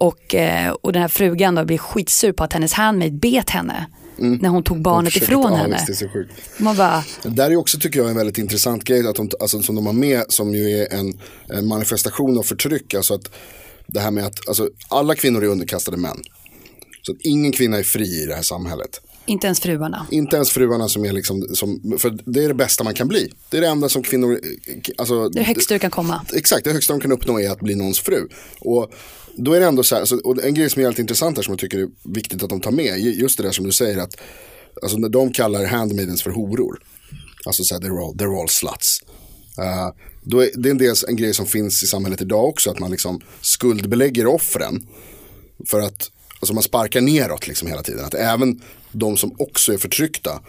S4: Och, eh, och den här frugan då blir skitsur på att hennes handmaid bet henne. När hon tog barnet
S5: Mm. försöker-
S4: ifrån
S5: ja,
S4: henne.
S5: visst, det är så sjukt.
S4: Man bara,
S5: Det där är också tycker jag en väldigt intressant grej att de, alltså, som de har med som ju är en, en manifestation av förtryck. Alltså att det här med att alltså, alla kvinnor är underkastade män. Så att ingen kvinna är fri i det här samhället.
S4: inte ens fruarna.
S5: Inte ens fruarna som är liksom, som, för det är det bästa man kan bli. Det är det enda som kvinnor, alltså,
S4: Det är högst du kan komma.
S5: exakt, det högsta de kan uppnå är att bli någons fru. Och då är det ändå så här, så, och en grej som är helt intressant här som jag tycker är viktigt att de tar med, ju- just det där som du säger att alltså, när de kallar handmaidens för horor, alltså så här, they're, all, they're all sluts. Eh, då är, det är en, dels en grej som finns i samhället idag också, att man liksom skuldbelägger offren för att alltså, man sparkar neråt liksom hela tiden. Att även de som också är förtryckta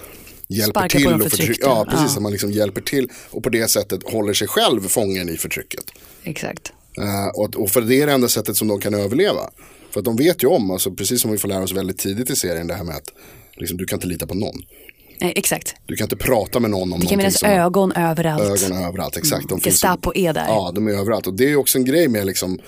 S5: hjälper
S4: Sparkar på
S5: till
S4: de
S5: och förtryck,
S4: förtryckta,
S5: ja, precis,
S4: ja.
S5: att man liksom hjälper till och på det sättet håller sig själv fången i förtrycket.
S4: Exakt.
S5: Eh, och, att- och för det är det enda sättet som de kan överleva. För att de vet ju om, alltså, precis som vi får lära oss väldigt tidigt i serien, det här med att liksom, du kan inte lita på någon.
S4: Nej, exakt.
S5: Du kan inte prata med någon om
S4: Vilka med
S5: någonting
S4: deras ögon överallt.
S5: ögonen överallt. Exakt. De finns ju-
S4: Gestapo är där.
S5: Ja, de är överallt. Och det är ju också en grej med liksom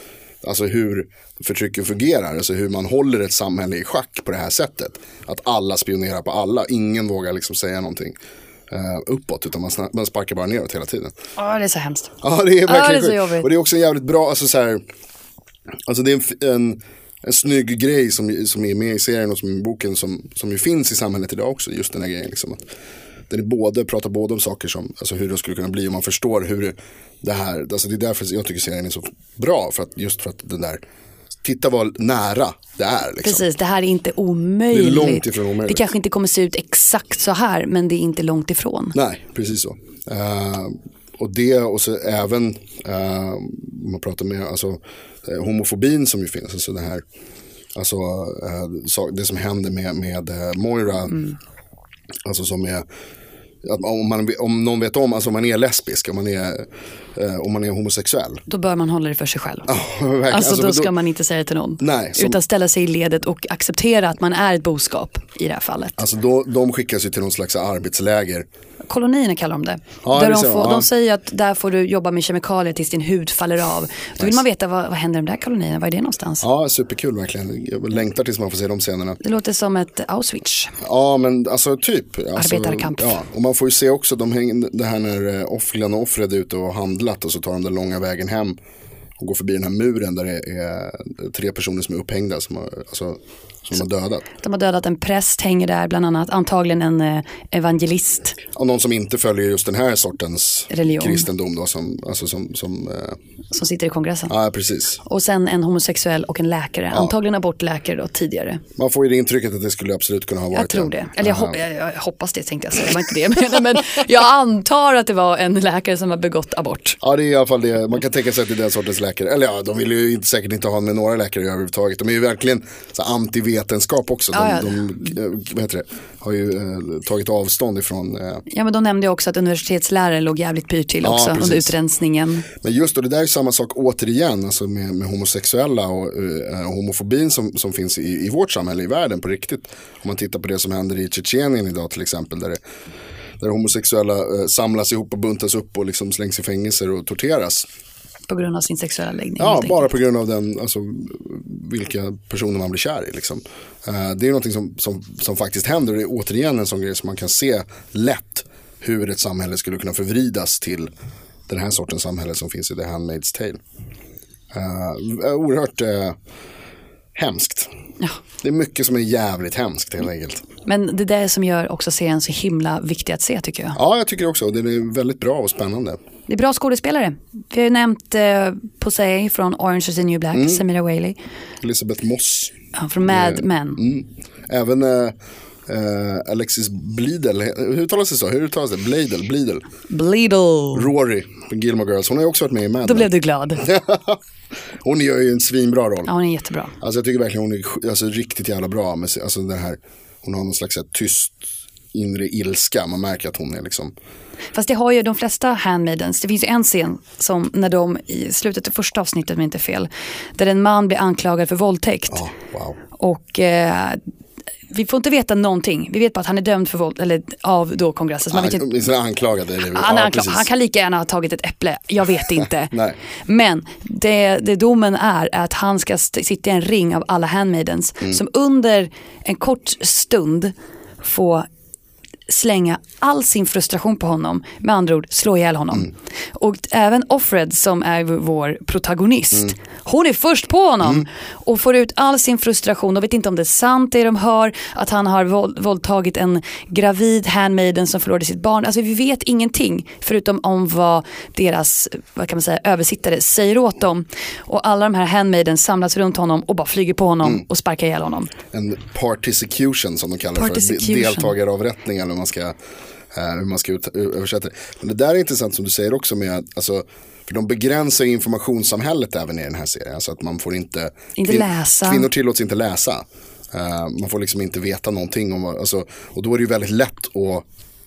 S5: Alltså hur förtrycket fungerar, alltså hur man håller ett samhälle i schack på det här sättet. Att alla spionerar på alla, ingen vågar liksom säga någonting eh, uppåt utan man, sna- man sparkar bara neråt hela tiden.
S4: Ja, det är så hemskt.
S5: Ja, det är
S4: Ja, det är
S5: verkligen
S4: så
S5: sjukt.
S4: jobbigt.
S5: Och det är också en jävligt bra, alltså så här, alltså det är en, f- en, en snygg grej som, som är med i serien och som är i boken som, som ju finns i samhället idag också, just den här grejen liksom. Att den är både, pratar både om saker som, alltså hur det skulle kunna bli om man förstår hur det- det här, alltså det är därför jag tycker serien är så bra, för att, just för att den där, titta vad nära det är liksom.
S4: Precis, det här är inte omöjligt.
S5: Det är långt ifrån omöjligt.
S4: Det kanske inte kommer se ut exakt så här, men det är inte långt ifrån.
S5: Nej, precis så. Eh, och det och så även, eh, om man pratar med, alltså eh, homofobin som ju finns, alltså det här, alltså eh, sa- det som händer med, med eh, Moira, alltså som är, att om, man, om någon vet om, alltså om man är lesbisk, om man är, eh, om man är homosexuell.
S4: Då bör man hålla det för sig själv.
S5: verkligen.
S4: Alltså,
S5: Alltså,
S4: då
S5: men
S4: ska
S5: då-
S4: man inte säga det till någon.
S5: Nej, som-
S4: Utan ställa sig i ledet och acceptera att man är ett boskap i det här fallet.
S5: Alltså då, de skickas ju till någon slags arbetsläger.
S4: Kolonierna kallar de det.
S5: Ja,
S4: där
S5: det
S4: de,
S5: ser jag,
S4: får,
S5: ja.
S4: de säger att där får du jobba med kemikalier tills din hud faller av. Då vill man veta vad, vad händer i de där kolonierna, var är det någonstans?
S5: Ja, superkul verkligen. Jag längtar tills man får se de scenerna.
S4: Det låter som ett Auschwitz.
S5: Ja men alltså typ. Alltså,
S4: Arbetarkamp.
S5: Ja, och man får ju se också de häng, det här när eh, Offlan och Offred är ute och har handlat och så tar de den långa vägen hem och går förbi den här muren där det är eh, tre personer som är upphängda som har, alltså, som har dödat.
S4: De har dödat en präst, hänger där bland annat, antagligen en eh, evangelist.
S5: Och någon som inte följer just den här sortens
S4: Religion.
S5: kristendom då som, alltså som, som eh,
S4: som sitter i kongressen.
S5: ja precis.
S4: Och sen en homosexuell och en läkare. Antagligen abortläkare då tidigare.
S5: Man får ju det intrycket att det skulle absolut kunna ha varit
S4: Jag tror
S5: en-
S4: det. Eller jag, hop- jag, jag hoppas det tänkte jag säga. Det var inte det jag menade. Men jag antar att det var en läkare som har begått abort.
S5: Ja det är i alla fall det, man kan tänka sig att det är den sortens läkare. Eller ja, de vill ju inte, säkert inte ha med några läkare överhuvudtaget. De är ju verkligen så här antivetenskap också. De,
S4: Ja, ja.
S5: de eh, vad heter det, har ju eh, tagit avstånd ifrån. Eh.
S4: Ja men de nämnde ju också att universitetslärare låg jävligt pyrt till
S5: Ja,
S4: också
S5: precis.
S4: under utrensningen.
S5: Men just då, det där är samma sak återigen alltså med, med homosexuella och eh, homofobin som, som finns i, i vårt samhälle, i världen på riktigt. Om man tittar på det som händer i Tjetjenien idag till exempel. Där det, där homosexuella eh, samlas ihop och buntas upp och liksom slängs i fängelser och torteras.
S4: På grund av sin sexuella läggning.
S5: Ja,
S4: helt
S5: bara
S4: enkelt.
S5: på grund av den, alltså, vilka personer man blir kär i. Liksom. Eh, det är någonting som, som, som faktiskt händer och det är återigen en sån grej som man kan se lätt hur ett samhälle skulle kunna förvridas till den här sortens samhälle som finns i The Handmaid's Tale. Eh, oerhört eh, hemskt.
S4: Ja.
S5: Det är mycket som är jävligt hemskt helt enkelt.
S4: Men det där som gör också serien så himla viktig att se tycker jag.
S5: Ja, jag tycker också. Det är väldigt bra och spännande.
S4: Det är bra skådespelare. Vi har ju nämnt eh, Posey från Orange is the new black,
S5: Mm.
S4: Samira Wailey.
S5: Elisabeth Moss.
S4: Ja, från Mad
S5: Mm.
S4: Men.
S5: Även eh, eh, Alexis Bledel, hur uttalas det så? Hur uttalas det? Bledel, Bledel.
S4: Bleedle.
S5: Rory från Gilmore Girls, hon har ju också varit med i Mad
S4: Då
S5: Men.
S4: blev du glad.
S5: Hon gör ju en svinbra roll.
S4: Ja, hon är jättebra.
S5: Alltså jag tycker verkligen hon är sj- alltså, riktigt jävla bra. Med, sig- alltså, den här, hon har någon slags så här, tyst inre ilska, man märker att hon är liksom.
S4: Fast det har ju de flesta handmaidens, det finns ju en scen som när de i slutet av första avsnittet om jag inte är fel, där en man blir anklagad för våldtäkt.
S5: Ja, wow.
S4: Och eh, vi får inte veta någonting, vi vet bara att han är dömd för våld, eller av då kongressen. Så man vet inte,
S5: Han, anklagad är det. väl?
S4: han, är
S5: Ja,
S4: anklag,
S5: precis.
S4: han kan lika gärna ha tagit ett äpple, jag vet inte.
S5: Nej.
S4: Men det, det domen är är att han ska st- sitta i en ring av alla handmaidens
S5: Mm.
S4: som under en kort stund får slänga all sin frustration på honom, med andra ord slå ihjäl honom. Och även Offred som är v- vår protagonist, hon är först på honom och får ut all sin frustration. De vet inte om det är sant det de hör, att han har våld, våldtagit en gravid handmaiden som förlorade sitt barn. Alltså vi vet ingenting förutom om vad deras vad kan man säga, översittare säger åt dem. Och alla de här handmaiden samlas runt honom och bara flyger på honom och sparkar ihjäl honom.
S5: En partisecution som de kallar det för.
S4: Partisecution.
S5: De- Deltagaravrättning eller hur man ska, eh, hur man ska ut, översätta det. Men det där är intressant som du säger också med att alltså, för de begränsar ju informationssamhället även i den här serien. Alltså att man får inte,
S4: Inte läsa.
S5: kvinnor tillåts inte läsa. Eh, man får liksom inte veta någonting om vad, alltså, och då är det ju väldigt lätt att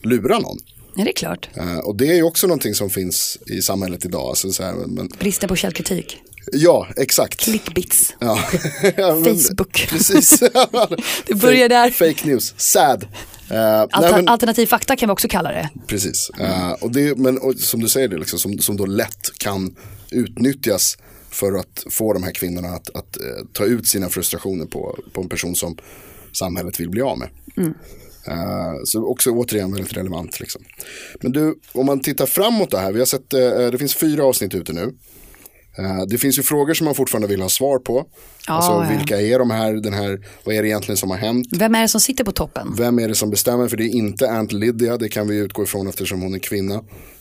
S5: lura någon.
S4: Ja, det är klart.
S5: Eh, och det är ju också någonting som finns i samhället idag. Alltså, så här, men,
S4: Bristen på källkritik.
S5: ja, exakt.
S4: Clickbits.
S5: Ja. Ja, men-
S4: Facebook.
S5: Precis.
S4: Det börjar där.
S5: Fake, fake news, sad. Eh, nej,
S4: Alter,
S5: men,
S4: Alternativ fakta kan vi också kalla det.
S5: precis. Eh, och det, men och, som du säger, det, liksom, som, som då lätt kan utnyttjas För att få de här kvinnorna att, att eh, ta ut sina frustrationer på, på en person som samhället vill bli av med.
S4: Mm.
S5: Eh, så också återigen väldigt relevant. Liksom. Men du, om man tittar framåt det här. Vi har sett, eh, det finns fyra avsnitt ute nu. Eh, Det finns ju frågor som man fortfarande vill ha svar på.
S4: Ja,
S5: alltså
S4: ja.
S5: vilka är de här, den här, vad är det egentligen som har hänt?
S4: Vem är det som sitter på toppen?
S5: Vem är det som bestämmer? För det är inte Aunt Lydia, det kan vi utgå ifrån eftersom hon är kvinna.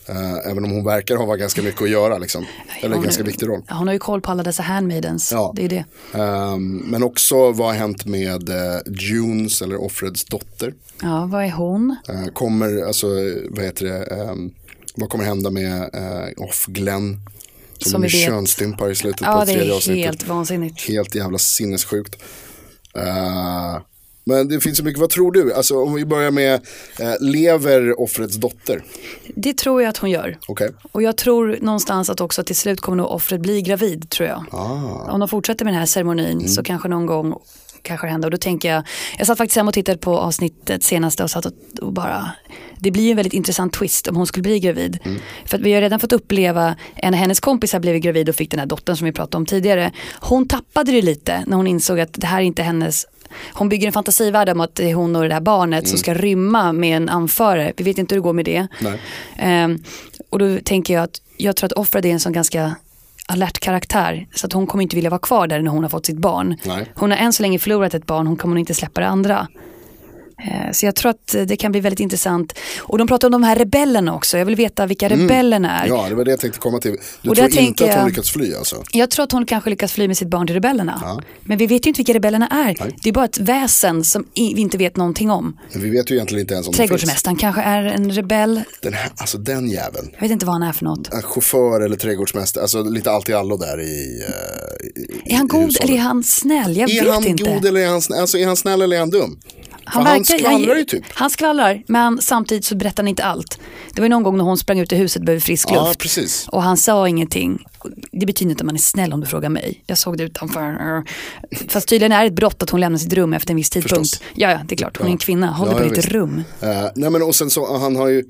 S5: Eh, även om hon verkar ha varit ganska mycket att göra, liksom. eller
S4: Hon-
S5: ganska viktig roll.
S4: Ja, Hon har ju koll på alla dessa handmaidens.
S5: Ja.
S4: Det är det.
S5: Ehm, men också vad har hänt med eh, Junes eller Offreds dotter?
S4: Ja, vad är hon?
S5: Eh, kommer, alltså, eh, vad heter det, ehm, vad kommer hända med eh, Off Glenn? Som,
S4: Som
S5: blir
S4: vi vet.
S5: könsstympar i slutet på
S4: Ja, det
S5: tredje
S4: är
S5: avsnittet.
S4: helt vansinnigt.
S5: Helt jävla sinnessjukt. Eh, men det finns så mycket, vad tror du? Alltså om vi börjar med, eh, lever offrets dotter?
S4: Det tror jag att hon gör.
S5: Okej.
S4: Och jag tror någonstans att också till slut kommer nog offret bli gravid tror jag. Om de fortsätter med den här ceremonin så kanske någon gång kanske det händer. Och då tänker jag, jag satt faktiskt hemma och tittade på avsnittet senaste och satt och, och bara, det blir ju en väldigt intressant twist om hon skulle bli gravid. För att vi har redan fått uppleva, en av hennes kompisar blev gravid och fick den här dottern som vi pratade om tidigare. Hon tappade det lite när hon insåg att det här är inte hennes hon bygger en fantasivärld om att det är hon och det här barnet som ska rymma med en anförare. Vi vet inte hur det går med det.
S5: Nej.
S4: Ehm, och då tänker jag att jag tror att Offred är en sån ganska alert karaktär så att hon kommer inte vilja vara kvar där när hon har fått sitt barn.
S5: Nej.
S4: Hon har än så länge förlorat ett barn, hon kommer nog inte släppa det andra. Eh, Så jag tror att eh, det kan bli väldigt intressant. Och de pratar om de här rebellerna också, jag vill veta vilka rebellerna är.
S5: Mm. Ja, det var det jag tänkte komma till. Du
S4: Och där
S5: tror inte
S4: tänker
S5: att hon
S4: jag-
S5: lyckats fly alltså?
S4: Jag tror att hon kanske lyckas fly med sitt barn till rebellerna. Men vi vet ju inte vilka rebellerna är. Det är bara ett väsen som i- vi inte vet någonting om.
S5: Men vi vet ju egentligen inte ens om det finns.
S4: Trädgårdsmästaren kanske är en rebell.
S5: Den här, alltså den jäveln.
S4: Jag vet inte vad han är för något.
S5: En chaufför eller trädgårdsmästare, alltså lite allt i allo där i, eh, i- i
S4: Är han god
S5: hushållet.
S4: eller är han snäll? Jag
S5: Är
S4: vet
S5: han
S4: inte.
S5: god eller är han, snä- alltså, är han snäll eller är han dum? Han, han skvallrar ju typ.
S4: Han skvallrar, men han, samtidigt så berättar han inte allt. Det var ju någon gång när hon sprang ut i huset och behövde frisk
S5: Ja,
S4: luft.
S5: precis.
S4: Och han sa ingenting. Det betyder inte att man är snäll om du frågar mig. Jag såg det utanför. Fast tydligen är det ett brott att hon lämnar sitt rum efter en viss tidpunkt.
S5: Förstås.
S4: Ja, ja, det är klart. Hon är en kvinna. Håll
S5: Ja,
S4: dig på
S5: ja,
S4: ditt
S5: visst.
S4: rum.
S5: Eh, nej men och sen så, han har ju,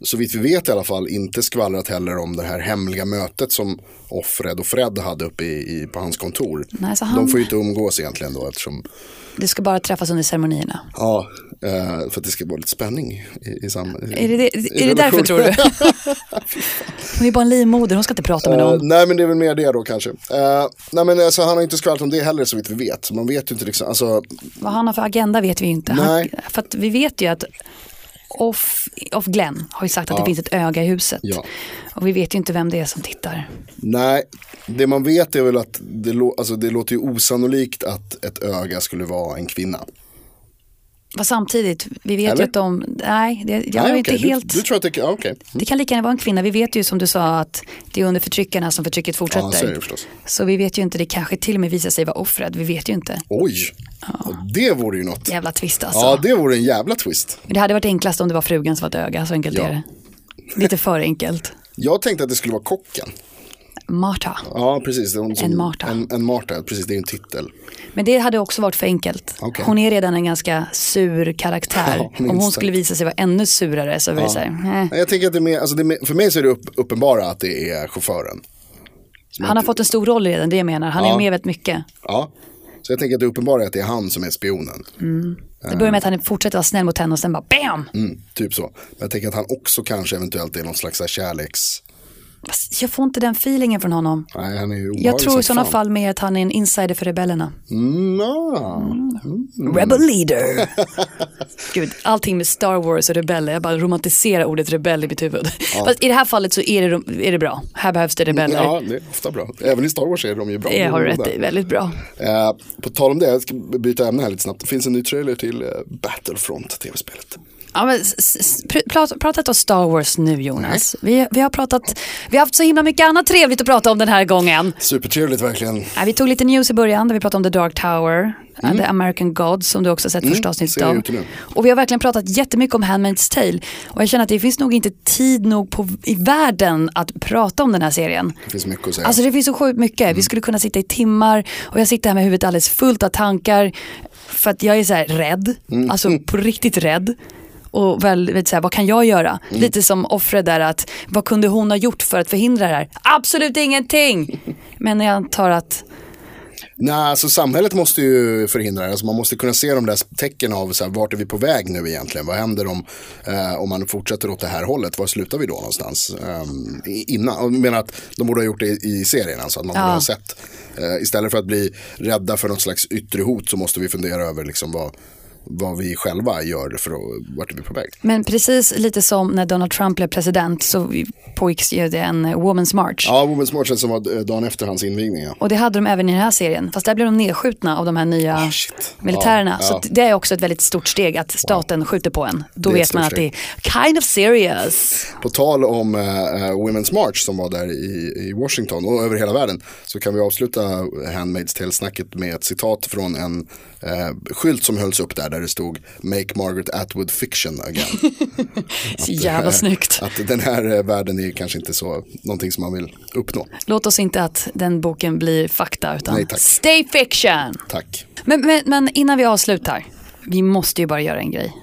S5: så vitt vi vet i alla fall, inte skvallrat heller om det här hemliga mötet som Offred och Fred hade uppe i, i, på hans kontor.
S4: Nej, så
S5: De
S4: han-
S5: får ju inte umgås egentligen då eftersom,
S4: Du ska bara träffas under ceremonierna.
S5: ja, eh, för att det ska vara lite spänning i, i sam, i-
S4: Är det, det,
S5: i
S4: är det därför
S5: relation.
S4: tror du? Hon är bara en livmoder, hon ska inte prata med
S5: Eh,
S4: någon.
S5: nej men det är väl mer det då kanske. Eh, nej men alltså, han har inte skvallrat om det heller så vitt vi vet. Så Man vet ju inte liksom, alltså,
S4: Vad han har för agenda vet vi ju inte. Han,
S5: Nej.
S4: för att vi vet ju att Off, off Glenn har ju sagt att det finns ett öga i huset.
S5: Ja.
S4: Och vi vet ju inte vem det är som tittar.
S5: nej. Det man vet är väl att det, lå- alltså, det låter ju osannolikt att ett öga skulle vara en kvinna.
S4: Fast samtidigt, vi vet
S5: Eller?
S4: ju att de, nej, det, jag är
S5: nej,
S4: inte
S5: okej.
S4: helt,
S5: Du, du tror att det, ja, okej.
S4: det kan lika gärna vara en kvinna. Vi vet ju som du sa att det är under förtryckarna som förtrycket
S5: Ja, så är
S4: fortsätter.
S5: det ju förstås.
S4: så vi vet ju inte, det kanske till och med visar sig vara offret, vi vet ju inte.
S5: Oj, Och det vore ju något.
S4: Jävla twist alltså.
S5: Ja, det vore en jävla twist.
S4: Men det hade varit enklast om det var frugan som var ett öga, så enkelt
S5: Ja.
S4: är det. Lite för enkelt.
S5: Jag tänkte att det skulle vara kocken.
S4: Marta.
S5: Ja, precis. Det är hon som-
S4: En Marta.
S5: En, en Marta, precis. Det är ju en titel.
S4: Men det hade också varit för enkelt.
S5: Okej.
S4: Hon är redan en ganska sur karaktär.
S5: Ja, minst
S4: Om hon
S5: sagt.
S4: skulle visa sig vara ännu surare så var det så här, eh.
S5: Nej, Jag tänker att det är mer, alltså det är mer, för mig så är det upp, uppenbara att det är chauffören.
S4: Han har fått en stor roll redan, det jag menar. Han är med väldigt mycket.
S5: Ja. Så jag tänker att det uppenbara är att det är han som är spionen.
S4: Det börjar med att han fortsätter vara snäll mot henne och sen bara BAM!
S5: Mm, typ så. Men jag tänker att han också kanske eventuellt är någon slags så här kärleks...
S4: Fast Jag får inte den feelingen från honom.
S5: Nej, han är ju
S4: Jag
S5: obehaglig
S4: tror
S5: som
S4: i sådana
S5: fan.
S4: fall mer att han är en insider för rebellerna.
S5: Mm, ja. Mm.
S4: Rebel leader. Gud, allting med Star Wars och rebeller, jag bara romantiserar ordet rebell i mitt huvud. Fast i det här fallet så är det, är det bra. Här behövs det rebeller.
S5: ja, det är ofta bra. Även i Star Wars är de ju bra.
S4: Det har du rätt
S5: Där.
S4: i, väldigt bra.
S5: Eh, på tal om det, jag ska byta ämne här lite snabbt. Det finns en ny trailer till eh, Battlefront, tv-spelet.
S4: Ja, men s- s- pr- prat- pratat om Star Wars nu Jonas. Vi, vi har pratat, vi har haft så himla mycket annat trevligt att prata om den här gången.
S5: Supertrevligt verkligen.
S4: Ja, vi tog lite news i början där vi pratade om The Dark Tower, mm. The American Gods som du också har sett första avsnittet
S5: ser
S4: av.
S5: ut nu.
S4: Och vi har verkligen pratat jättemycket om Handmaid's Tale. Och jag känner att det finns nog inte tid nog på, i världen att prata om den här serien.
S5: Det finns mycket att säga.
S4: Alltså det finns så sjukt mycket. Vi skulle kunna sitta i timmar och jag sitter här med huvudet alldeles fullt av tankar. För att jag är så här rädd, alltså på riktigt rädd. och väldigt så här, vad kan jag göra? Lite som offret där att, vad kunde hon ha gjort för att förhindra det här? Absolut ingenting! Men jag antar att,
S5: Nej, alltså samhället måste ju förhindra det. Alltså man måste kunna se de där tecken av så här, vart är vi på väg nu egentligen? Vad händer om, eh, om man fortsätter åt det här hållet? Var slutar vi då någonstans? Ehm, i- innan, jag menar att de borde ha gjort det i, i serien, alltså att man borde ha sett. Eh, istället för att bli rädda för något slags yttre hot så måste vi fundera över liksom vad, vad vi själva gör för att, vart är vi på väg?
S4: men precis lite som när Donald Trump blev president så pågick ju det en Women's March.
S5: Ja, Women's March som var eh, dagen efter hans invigning. Ja.
S4: Och det hade de även i den här serien. Fast där blev de nedskjutna av de här nya
S5: Ah, shit.
S4: militärerna.
S5: Ja,
S4: Så
S5: ja.
S4: att det är också ett väldigt stort steg att staten skjuter på en. Då
S5: Det är ett
S4: vet man att
S5: stort
S4: det är kind of serious.
S5: På tal om eh, eh, Women's March som var där i, i Washington och över hela världen så kan vi avsluta Handmaid's Tale-snacket med ett citat från en eh, skylt som hölls upp där där det stod Make Margaret Atwood fiction again.
S4: Så jävla snyggt.
S5: Att den här eh, världen är kanske inte så någonting som man vill uppnå.
S4: Låt oss inte att den boken blir fakta utan
S5: Nej, tack.
S4: stay fiction.
S5: Tack.
S4: Men, men, men innan vi avslutar, vi måste ju bara göra en grej.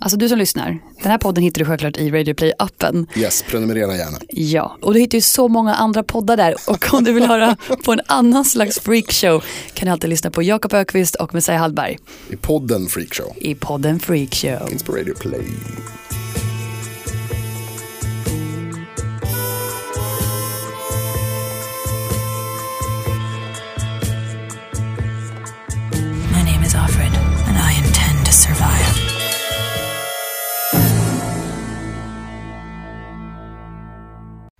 S4: Alltså du som lyssnar, den här podden hittar du självklart i Radio Play-appen.
S5: Yes, prenumerera gärna.
S4: Ja, och du hittar ju så många andra poddar där. Och om du vill höra på en annan slags freakshow kan du alltid lyssna på Jakob Ökvist och Messiah Hallberg
S5: I podden Freakshow.
S4: i podden Freakshow.
S5: Finns på Radio Play.
S7: My name is Alfred, and I intend to survive.